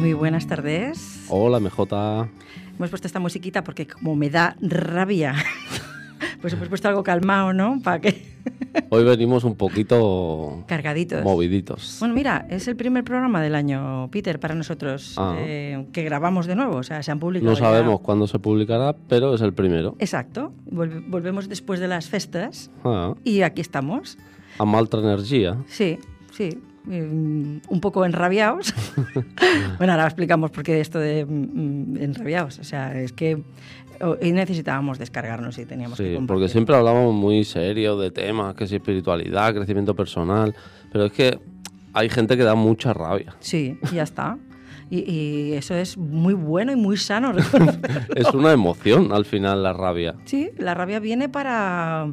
Muy buenas tardes. Hola, MJ. Hemos puesto esta musiquita porque como me da rabia, pues hemos puesto algo calmado, ¿no? Para que Hoy venimos un poquito cargaditos. moviditos. Bueno, mira, es el primer programa del año, Peter, para nosotros, Ah. eh, que grabamos de nuevo, o sea, se han publicado. No ya. sabemos cuándo se publicará, pero es el primero. Exacto, Vol- volvemos después de las festas Ah, y aquí estamos. amb altra energia. Sí, sí, mm, un poco enrabiados. bueno, ahora explicamos por qué esto de mm, enrabiados, o sea, es que hoy necesitábamos descargarnos y teníamos que Sí, compartir. porque siempre hablamos muy serio de temas, que si espiritualidad, crecimiento personal, pero es que hay gente que da mucha rabia. Sí, y ya está. Y, y eso es muy bueno y muy sano. reconocer. Es una emoción al final la rabia. sí, la rabia viene para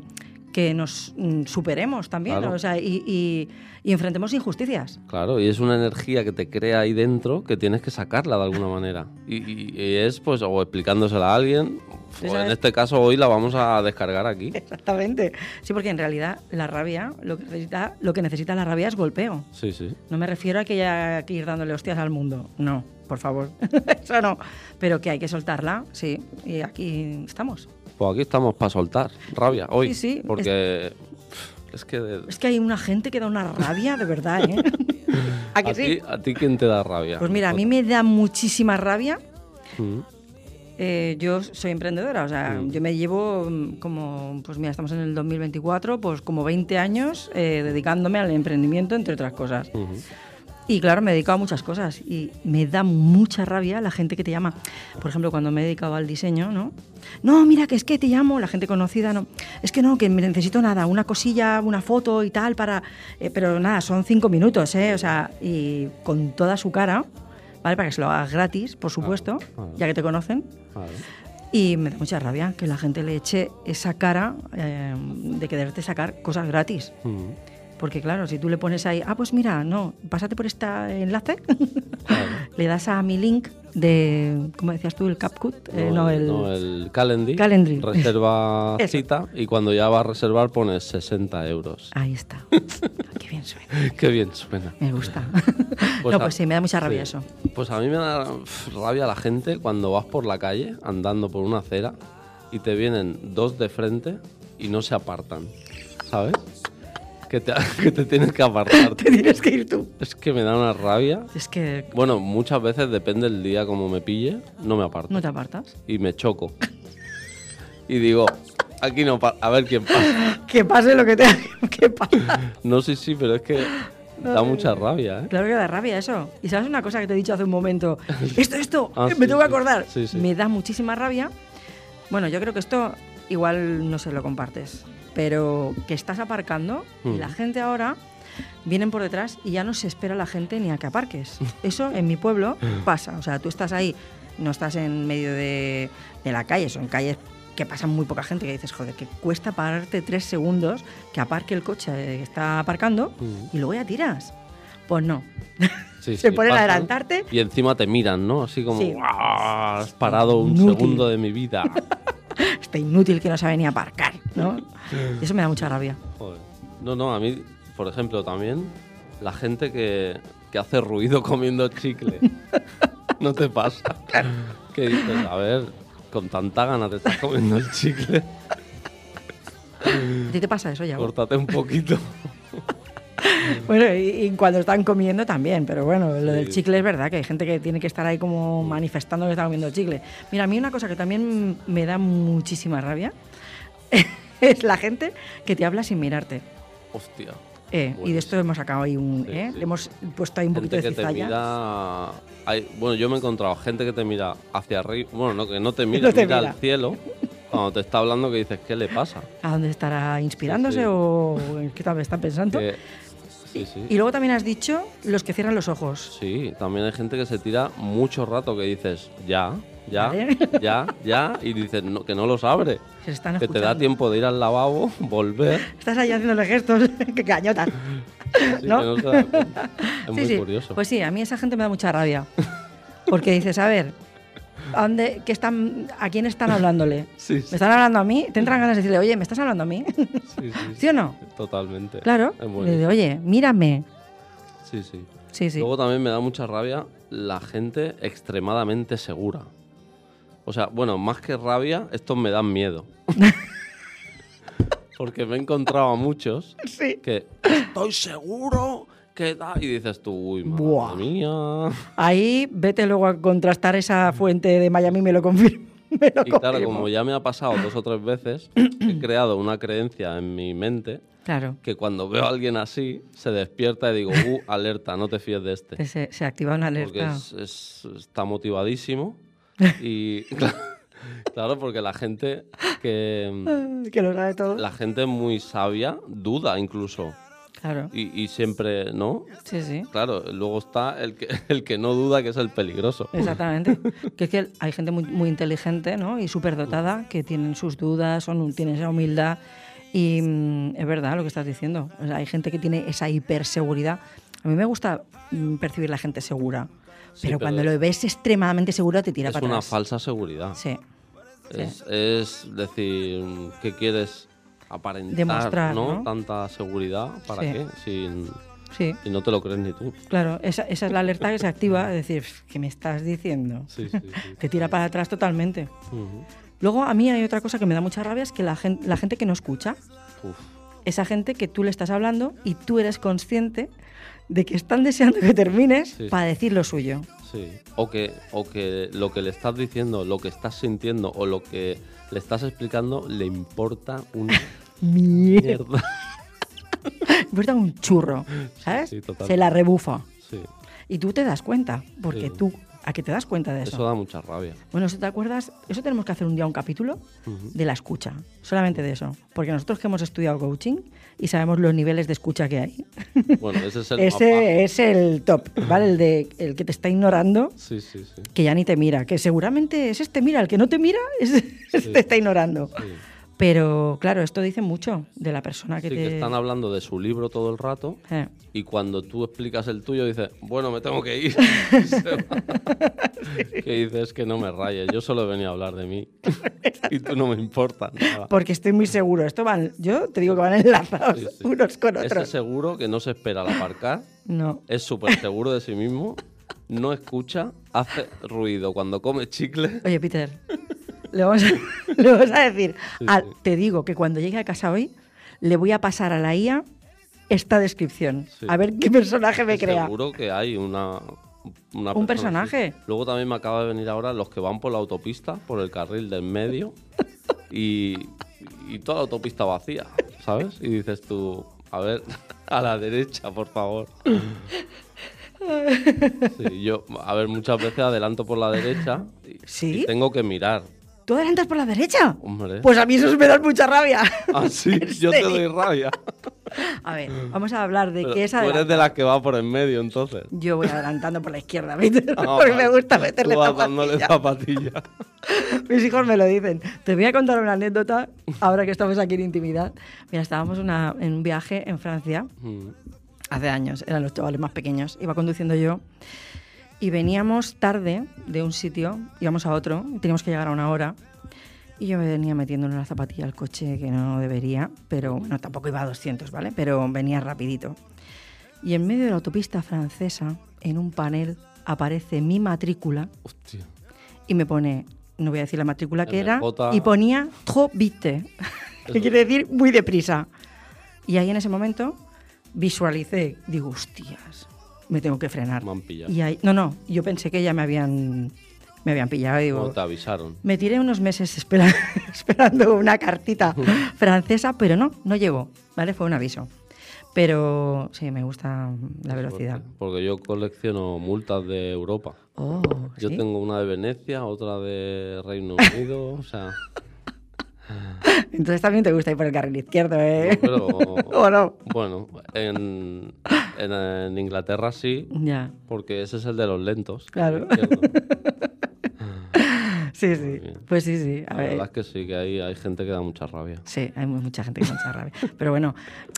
que nos mm, superemos también, Claro. o sea, y, y- y enfrentemos injusticias. Claro, y es una energía que te crea ahí dentro que tienes que sacarla de alguna manera. Y, y- y es pues o explicándosela a alguien, o en sabes- este caso hoy la vamos a descargar aquí. Exactamente. Sí, porque en realidad la rabia, lo que necesita, lo que necesita la rabia es golpeo. Sí, sí. No me refiero a que haya que ir dándole hostias al mundo. No, por favor. Eso no. Pero que hay que soltarla, sí. Y aquí estamos. Pues aquí estamos para soltar rabia hoy. Sí, sí, Porque es, que de- Es que hay una gente que da una rabia, de verdad, ¿eh? a, ti, a ti quién te da rabia. Mm, Pues mira, a mí me da muchísima rabia. Eh, yo soy emprendedora, o sea, yo me llevo mm, como, pues mira, estamos en el 2024, pues como 20 años eh, dedicándome al emprendimiento, entre otras cosas. Y claro, me he dedicado a muchas cosas y me da mucha rabia la gente que te llama. Por ejemplo, cuando me he dedicado al diseño, ¿no? No, mira, que es que te llamo, la gente conocida, no. Es que no, que me necesito nada, una cosilla, una foto y tal para... eh, pero nada, son cinco minutos, ¿eh? O sea, y con toda su cara, ¿vale? Para que se lo hagas gratis, por supuesto, claro. ya que te conocen. Claro. Y me da mucha rabia que la gente le eche esa cara eh, de quererte sacar cosas gratis. Mm. Porque claro, si tú le pones ahí, ah, pues mira, no, pásate por este enlace, le das a mi link de, ¿cómo decías tú? El CapCut, eh, no, el... no, el Calendly. Calendly. Reserva Eso. cita y cuando ya va a reservar pones 60 euros. Ahí está. Qué bien suena. Qué bien suena. Me gusta. Pues no, a- pues sí, me da mucha rabia sí. eso. Pues a mí me da pf, rabia la gente cuando vas por la calle andando por una acera y te vienen dos de frente y no se apartan. ¿Sabes? Que te, que te tienes que apartar. Te tienes que ir tú. Es que me da una rabia. Es que Bueno, muchas veces depende del día como me pille, no me aparto. no te apartas. Y me choco. y digo, aquí no pa- a ver quién pasa. Que pase lo que tenga que pasar. No, sí, sí, pero es que da mucha rabia, ¿eh? Claro que da rabia eso. Y sabes una cosa que te he dicho hace un momento. Esto, esto, Ah, me sí, tengo que sí. acordar. Sí, sí. Me da muchísima rabia. Bueno, yo creo que esto igual no se lo compartes. Pero que estás aparcando y Mm. la gente ahora vienen por detrás y ya no se espera la gente ni a que aparques. Eso en mi pueblo Ah. pasa. O sea, tú estás ahí, no estás en medio de, de la calle, son calles que pasan muy poca gente, que dices, joder, que cuesta pararte tres segundos que aparque el coche eh, que está aparcando Mm. y luego ya tiras. Pues no. Sí, se sí, ponen a pasan adelantarte. Y encima te miran, ¿no? Así como, Sí. "Ah, has parado un Inútil. segundo de mi vida. Este inútil que no sabe ni aparcar, ¿no? Y eso me da mucha rabia. Joder. No, no, a mí, por ejemplo, también la gente que, que hace ruido comiendo chicle. ¿No te pasa? Que dices, a ver, con tanta gana te estás comiendo el chicle, ¿A ti te pasa eso ya? córtate un poquito. Bueno, y, y cuando están comiendo también, pero bueno, lo del Sí. chicle es verdad, que hay gente que tiene que estar ahí como manifestando que está comiendo chicle. Mira, a mí una cosa que también me da muchísima rabia es la gente que te habla sin mirarte. Hostia. Eh, y de esto hemos sacado ahí un... Pues Sí, eh, sí. Le hemos puesto ahí un poquito gente que de te cizalla. mira. hay- bueno, yo me he encontrado gente que te mira hacia arriba. Bueno, no, que no te mira, No te mira, mira. al cielo. Cuando te está hablando, que dices, ¿qué le pasa? ¿A dónde estará inspirándose Sí, sí. Eh, o en qué tal está pensando? Que- Sí, sí. Y luego también has dicho los que cierran los ojos. Sí, también hay gente que se tira mucho rato que dices, ya, ya, Vale. ya, ya, y dices no, que no los abre. Se están Que te da escuchando. tiempo de ir al lavabo, volver. Estás ahí haciéndole gestos, que cañotas. sí, ¿No? que no se da cuenta. es muy sí. curioso. Pues sí, a mí esa gente me da mucha rabia. Porque dices, a ver, ¿a, dónde, qué están, ¿a quién están hablándole? sí, ¿Me sí, están hablando a mí? ¿Te entran ganas de decirle, oye, ¿me estás hablando a mí? sí, sí, ¿Sí o no? Totalmente. Claro. Es Le digo, buenísimo. oye, mírame. Sí, sí. Sí, sí. Luego también me da mucha rabia la gente extremadamente segura. O sea, bueno, más que rabia, estos me dan miedo. Porque me he encontrado a muchos Sí. que estoy seguro que da. Y dices tú, uy, madre Buah. mía. Ahí vete luego a contrastar esa fuente de Miami, me lo confirmo. Me lo Y claro, confirmo. como ya me ha pasado dos o tres veces, he creado una creencia en mi mente Claro, que cuando veo a alguien así, se despierta y digo, uh, alerta, no te fíes de este. que se, se activa una porque alerta. es- es- está motivadísimo y claro porque la gente que Que lo sabe todo. la gente muy sabia duda incluso Claro. y, y siempre no Sí, sí. claro luego está el que el que no duda que es el peligroso Exactamente. que es que hay gente muy, muy inteligente ¿no? y superdotada que tienen sus dudas, son, tienen esa humildad. Y mm, es verdad lo que estás diciendo. O sea, hay gente que tiene esa hiperseguridad. A mí me gusta mm, percibir la gente segura. Sí, Pero pero cuando lo ves extremadamente segura te tira es para una atrás. falsa seguridad Sí. sí. es, es decir que quieres aparentar Demostrar, ¿no? ¿no? tanta seguridad para Sí. qué si, Sí, si no te lo crees ni tú claro. Esa, esa es la alerta que se activa, es decir, "Pf, ¿qué me estás diciendo? sí, sí, sí. Te tira para atrás totalmente. Ujú. Luego a mí hay otra cosa que me da mucha rabia, es que la gente, la gente que no escucha, Uf. esa gente que tú le estás hablando y tú eres consciente de que están deseando que termines Sí. para decir lo suyo. Sí. O que, o que lo que le estás diciendo, lo que estás sintiendo o lo que le estás explicando le importa una Mierda. mierda. Verdad, un churro, ¿sabes? sí, total. Se la rebufa. Sí. Y tú te das cuenta, porque Sí. tú, ¿a que te das cuenta de eso? Eso da mucha rabia. Bueno, si te acuerdas, eso tenemos que hacer un día un capítulo Ujú. de la escucha, solamente de eso, porque nosotros que hemos estudiado coaching y sabemos los niveles de escucha que hay. Bueno, ese es Pues el mapa. Ese es el top, ¿vale? El de el que te está ignorando Sí, sí, sí. que ya ni te mira, que seguramente es este mira, el que no te mira es, te está ignorando. Sí. Pero claro, esto dice mucho de la persona que Sí, te... que están hablando de su libro todo el rato Eh, y cuando tú explicas el tuyo dices, bueno, me tengo que ir. Y se va. que dices que no me rayes, yo solo he venido a hablar de mí y tú no me importa nada. Porque estoy muy seguro, esto van, yo te digo que van enlazados Sí, sí. unos con Ese otros. Este seguro que no se espera al aparcar No. es súper seguro de sí mismo, no escucha, hace ruido cuando come chicle. Oye, Peter, le vamos a, le vamos a decir, al- te digo que cuando llegue a casa hoy, le voy a pasar a la IA esta descripción, Sí. a ver qué personaje me crea. Seguro que hay una... una Un persona así. personaje. Luego también me acaba de venir ahora los que van por la autopista, por el carril del medio, y, y toda la autopista vacía, ¿sabes? Y dices tú, a ver, a la derecha, por favor. Sí, yo, a ver, muchas veces adelanto por la derecha y, ¿Sí? y tengo que mirar. ¿Tú adelantas por la derecha? Hombre. Pues a mí eso me da mucha rabia. Ah, sí, yo te serio? doy rabia. A ver, vamos a hablar de Pero qué es tú eres adelantar. de las que va por en medio, entonces. Yo voy adelantando por la izquierda, Peter, Ah, porque vale. me gusta meterle Tú vas dándole zapatilla. zapatilla. Mis hijos me lo dicen. Te voy a contar una anécdota ahora que estamos aquí en intimidad. Mira, estábamos una- en un viaje en Francia Mm, hace años, eran los chavales más pequeños. Iba conduciendo yo y veníamos tarde de un sitio, íbamos a otro, y teníamos que llegar a una hora. Y yo me venía metiendo en una zapatilla al coche que no debería, pero bueno, tampoco iba a 200, ¿vale? Pero venía rapidito. Y en medio de la autopista francesa, en un panel, aparece mi matrícula Hostia. y me pone, no voy a decir la matrícula que era, MJ. y ponía trop vite, que Eso. quiere decir muy deprisa. Y ahí en ese momento visualicé, digo, hostias, me tengo que frenar. Me han pillado. Y ahí, no, no, yo pensé que ya me habían, me habían pillado. y No Digo, te avisaron. me tiré unos meses espera- esperando una cartita francesa, pero no, no llegó, ¿vale? Fue un aviso. Pero sí, me gusta la velocidad. Porque yo colecciono multas de Europa. Oh, Yo ¿sí? tengo una de Venecia, otra de Reino Unido, o sea, Entonces también te gusta ir por el carril izquierdo, ¿eh? pero ¿O no? bueno, en, en, en Inglaterra sí, Ya. porque ese es el de los lentos. Claro. Cierto. Sí, sí. bien. Pues sí, sí. A La ver. verdad es que sí, que hay, hay gente que da mucha rabia. Sí, hay mu- mucha gente con mucha rabia. Pero bueno,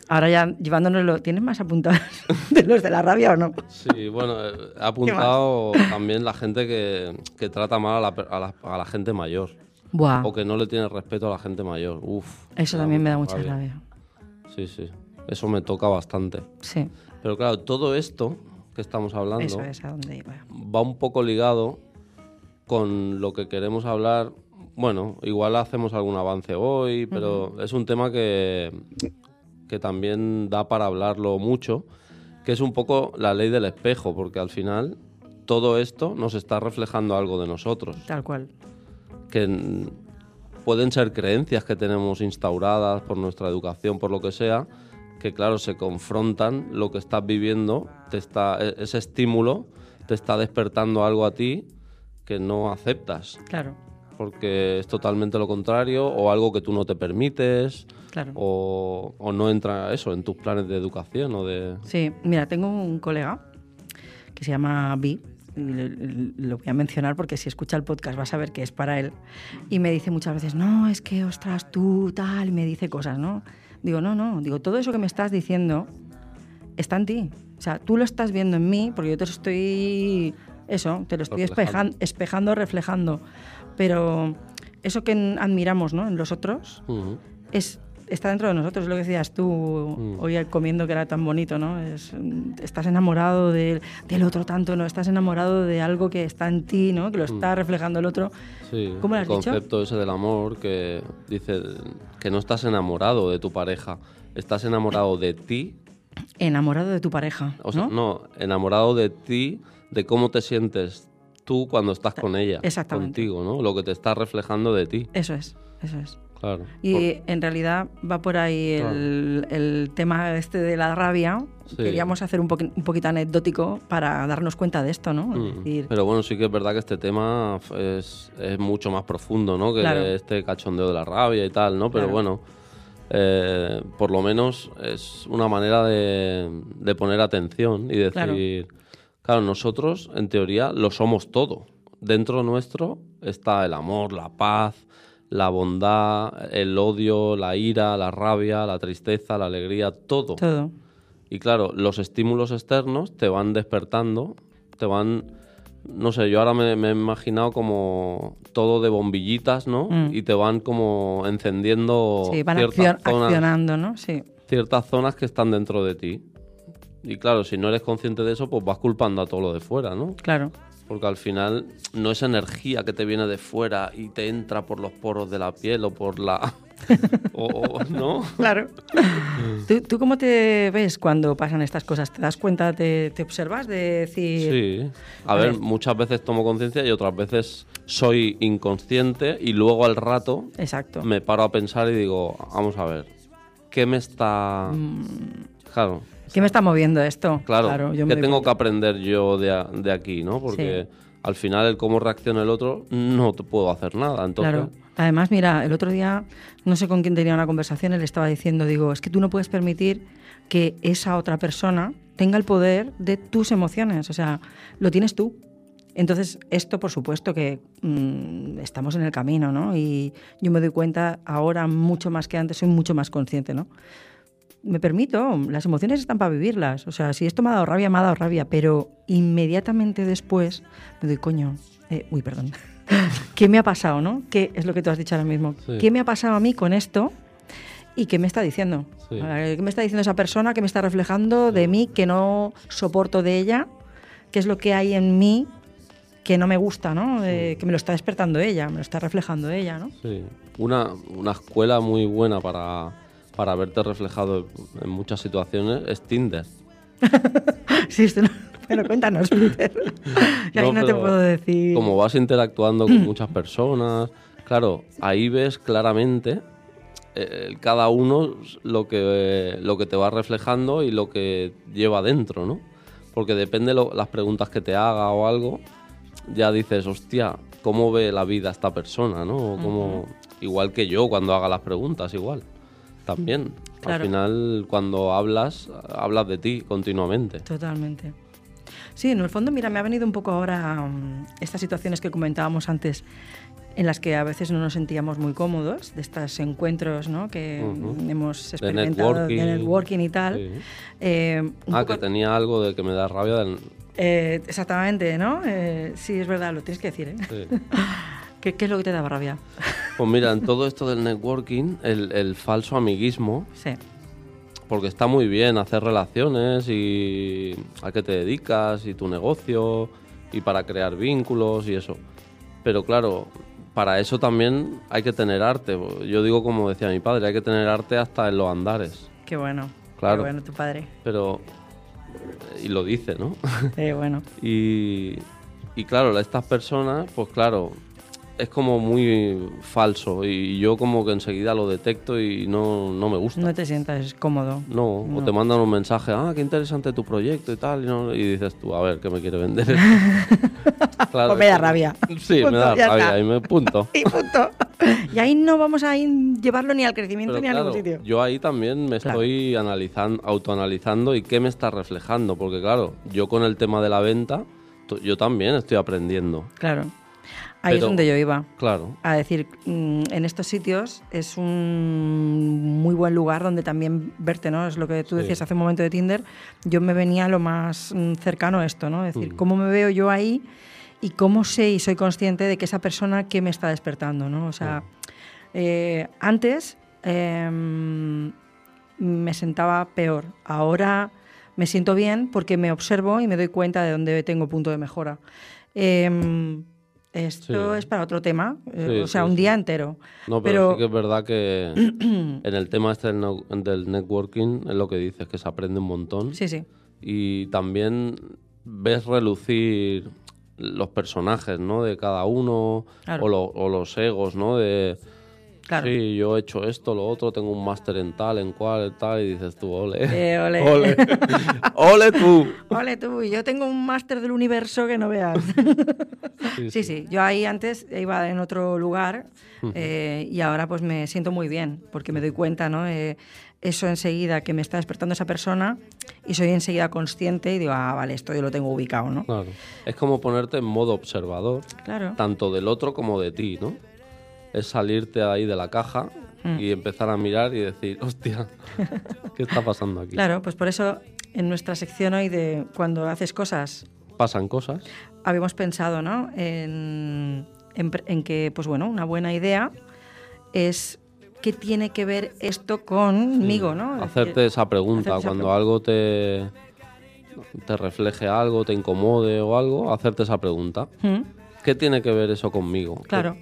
ahora ya llevándonoslo, ¿tienes más apuntados de los de la rabia o no? Sí, bueno, eh, ha apuntado también la gente que, que trata mal a la, per- a la- a la gente mayor. Buah, O que no le tiene respeto a la gente mayor. Uf. eso también me da mucha rabia. Sí, sí. Eso me toca bastante. Sí, Pero claro, todo esto que estamos hablando eso es a donde iba. va un poco ligado con lo que queremos hablar. Bueno, igual hacemos algún avance hoy, pero es un tema que, que también da para hablarlo mucho, que es un poco la ley del espejo, porque al final todo esto nos está reflejando algo de nosotros, Tal cual. que n- pueden ser creencias que tenemos instauradas por nuestra educación, por lo que sea, que claro, se confrontan lo que estás viviendo, te está, e- ese estímulo te está despertando algo a ti que no aceptas, Claro, porque es totalmente lo contrario, o algo que tú no te permites, claro. o, o no entra eso en tus planes de educación o de... Sí, mira, tengo un colega que se llama Vi. y le- le- Lo voy a mencionar porque si escucha el podcast va a saber que es para él. Y me dice muchas veces, no, es que, ostras, tú tal, y me dice cosas, ¿no? Digo, no, no, digo, todo eso que me estás diciendo está en ti. O sea, tú lo estás viendo en mí porque yo te lo estoy, eso, te lo estoy Reflejando. espejan- espejando, reflejando. Pero eso que en- admiramos, ¿no? En los otros, Ujú. es, está dentro de nosotros, es lo que decías tú Mm. hoy al comiendo que era tan bonito, ¿no? Es, mm, estás enamorado del, del otro tanto, ¿no? Estás enamorado de algo que está en ti, ¿no? Que lo está reflejando el otro. Mm. Sí, ¿Cómo lo el has dicho? concepto ese del amor que dice que no estás enamorado de tu pareja, estás enamorado de ti, Enamorado de tu pareja, o sea, ¿no? no, enamorado de ti, de cómo te sientes tú cuando estás con ella, Exactamente. contigo, ¿no? Lo que te está reflejando de ti, Eso es, eso es. claro. Y en realidad va por ahí el, el tema este de la rabia. Sí. Queríamos hacer un, poqui- un poquito anecdótico para darnos cuenta de esto, ¿no? Mm. Es decir, Pero bueno, sí que es verdad que este tema f- es, es mucho más profundo, ¿no? Que Claro. este cachondeo de la rabia y tal, ¿no? Pero Claro. bueno, eh, por lo menos es una manera de, de poner atención y decir, Claro. claro, nosotros en teoría lo somos todo. Dentro nuestro está el amor, la paz, la bondad, el odio, la ira, la rabia, la tristeza, la alegría, todo. todo. Y claro, los estímulos externos te van despertando, te van... No sé, yo ahora me, me he imaginado como todo de bombillitas, ¿no? Mm. Y te van como encendiendo Sí, van ciertas, accion- zonas, accionando, ¿no? Sí. ciertas zonas que están dentro de ti. Y claro, si no eres consciente de eso, pues vas culpando a todo lo de fuera, ¿no? Claro, Porque al final no es energía que te viene de fuera y te entra por los poros de la piel o por la... o- o- ¿No? claro. ¿Tú, tú cómo te ves cuando pasan estas cosas? ¿Te das cuenta, te, te observas de decir... Sí. A A ver, ver. muchas veces tomo conciencia y otras veces soy inconsciente y luego al rato Exacto. me paro a pensar y digo, vamos a ver, ¿qué me está... Claro, ¿Qué me está moviendo esto? claro, Mm. yo me ¿qué doy tengo que cuenta. aprender yo de, a- de aquí, no? Porque al final el cómo reacciona el otro no te puedo hacer nada, entonces... Claro. Además, mira, el otro día, no sé con quién tenía una conversación, él estaba diciendo, digo, es que tú no puedes permitir que esa otra persona tenga el poder de tus emociones, o sea, lo tienes tú. Entonces, esto por supuesto que mm, estamos en el camino, ¿no? Y yo me doy cuenta ahora mucho más que antes, soy mucho más consciente, ¿no? me permito, las emociones están para vivirlas. O sea, si esto me ha dado rabia, me ha dado rabia, pero inmediatamente después me doy coño. eh, uy, perdón. ¿Qué me ha pasado, no? ¿Qué es lo que tú has dicho ahora mismo? Sí. ¿Qué me ha pasado a mí con esto? ¿Y qué me está diciendo? Sí. Eh, ¿Qué me está diciendo esa persona? ¿Qué me está reflejando de mí que no soporto de ella? ¿Qué es lo que hay en mí que no me gusta, no? Eh, que me lo está despertando ella, me lo está reflejando ella, ¿no? Sí. Una, una escuela muy buena para, para verte reflejado en muchas situaciones es Tinder. Sí, esto no- Pero cuéntanos, Peter. Y ahí no, te pero puedo decir. Como vas interactuando con muchas personas, claro, ahí ves claramente eh, cada uno lo que, lo que te va reflejando y lo que lleva dentro, ¿no? Porque depende lo- las preguntas que te haga o algo, ya dices, hostia, ¿cómo ve la vida esta persona, no? O cómo- Igual que yo cuando haga las preguntas, igual. también. Claro. Al final, cuando hablas, hablas de ti continuamente. Totalmente. Sí, en el fondo, mira, me ha venido un poco ahora mm, estas situaciones que comentábamos antes, en las que a veces no nos sentíamos muy cómodos, de estos encuentros ¿no? que Ujú. mm, hemos experimentado, networking. networking y tal. Sí. Eh, un Ah, poco- que tenía algo de que me da rabia. del- eh, exactamente, ¿no? Eh, sí, es verdad, lo tienes que decir. ¿eh? sí. ¿Qué, qué es lo que te daba rabia? Pues mira, en todo esto del networking, el, el falso amiguismo, Sí, porque está muy bien hacer relaciones y a qué te dedicas y tu negocio y para crear vínculos y eso. Pero claro, para eso también hay que tener arte. Yo digo como decía mi padre, hay que tener arte hasta en los andares. qué bueno. Claro. Qué bueno, tu padre. Pero... Y lo dice, ¿no? Eh, bueno. Y, y claro, estas personas, pues claro, es como muy falso y yo como que enseguida lo detecto y no, no me gusta. No te sientas cómodo. No, o No. te mandan un mensaje, ah, qué interesante tu proyecto y tal, y, no- y dices tú, a ver, ¿qué me quiere vender? Claro, Pues me da es que- rabia. Sí, me Punto, da ya rabia está. y me punto. Y punto. Y ahí no vamos a in- llevarlo ni al crecimiento Pero ni a claro, ningún sitio. yo ahí también me Claro. estoy analizando, autoanalizando y qué me está reflejando, porque claro, yo con el tema de la venta, to- yo también estoy aprendiendo. Claro. Ahí Pero- es donde yo iba. Claro, A decir, mm, en estos sitios es un muy buen lugar donde también verte, ¿no? Es lo que tú Sí. decías hace un momento de Tinder. Yo me venía lo más mm, cercano a esto, ¿no? Es Mm. decir, cómo me veo yo ahí y cómo sé y soy consciente de que esa persona que me está despertando, ¿no? O sea, eh, antes em, me sentaba peor. Ahora me siento bien porque me observo y me doy cuenta de dónde tengo punto de mejora. Em, esto Sí. es para otro tema, eh, Sí, o sea, sí, un sí. día entero. No, pero, sí que es verdad que en el tema este del, no- del networking es lo que dices, que se aprende un montón. sí, sí. Y también ves relucir los personajes, ¿no? De cada uno Claro. o, lo- o los egos, ¿no? De, Claro. sí, yo he hecho esto, lo otro, tengo un máster en tal, en cual, tal, y dices tú, ole. Eh, ole. ole. Ole tú. Ole tú, y yo tengo un máster del universo que no veas. Sí, sí, sí, Yo ahí antes iba en otro lugar eh, y ahora pues me siento muy bien porque me doy cuenta, ¿no? Eh, eso enseguida que me está despertando esa persona y soy enseguida consciente y digo, ah, vale, esto yo lo tengo ubicado, ¿no? Claro. Es como ponerte en modo observador. Claro. tanto del otro como de ti, ¿no? Es salirte ahí de la caja Mm. y empezar a mirar y decir, hostia, ¿qué está pasando aquí? Claro, pues por eso en nuestra sección hoy de cuando haces cosas Pasan cosas. habíamos pensado ¿no? en, en pre- en que pues bueno, una buena idea es qué tiene que ver esto conmigo, ¿no? Ah, Es Hacerte decir, esa pregunta hacerte esa cuando pregunta. algo te, te refleje algo, te incomode o algo, hacerte esa pregunta. ¿Mm? ¿Qué tiene que ver eso conmigo? ¿Qué- Claro.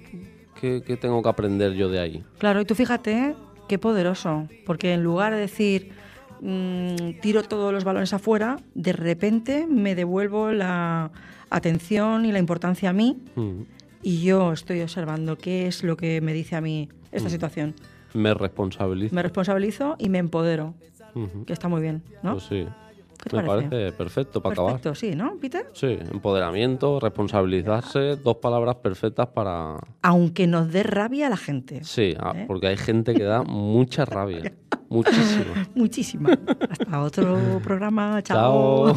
¿Qué, qué tengo que aprender yo de ahí? Claro, y tú fíjate ¿eh? qué poderoso, porque en lugar de decir mm, tiro todos los balones afuera, de repente me devuelvo la atención y la importancia a mí Mm. y yo estoy observando qué es lo que me dice a mí esta Mm. situación. Me responsabilizo. Me responsabilizo y me empodero, Ujú. que está muy bien, ¿no? Pues sí. ¿Qué te Me parece? parece, perfecto para acabar. Perfecto, sí, ¿no, Peter? Sí, empoderamiento, responsabilizarse, dos palabras perfectas para... Aunque nos dé rabia a la gente. Sí, ah, ¿Eh? porque hay gente que da mucha rabia, muchísima. Muchísima. Hasta otro programa. Chao. Chao.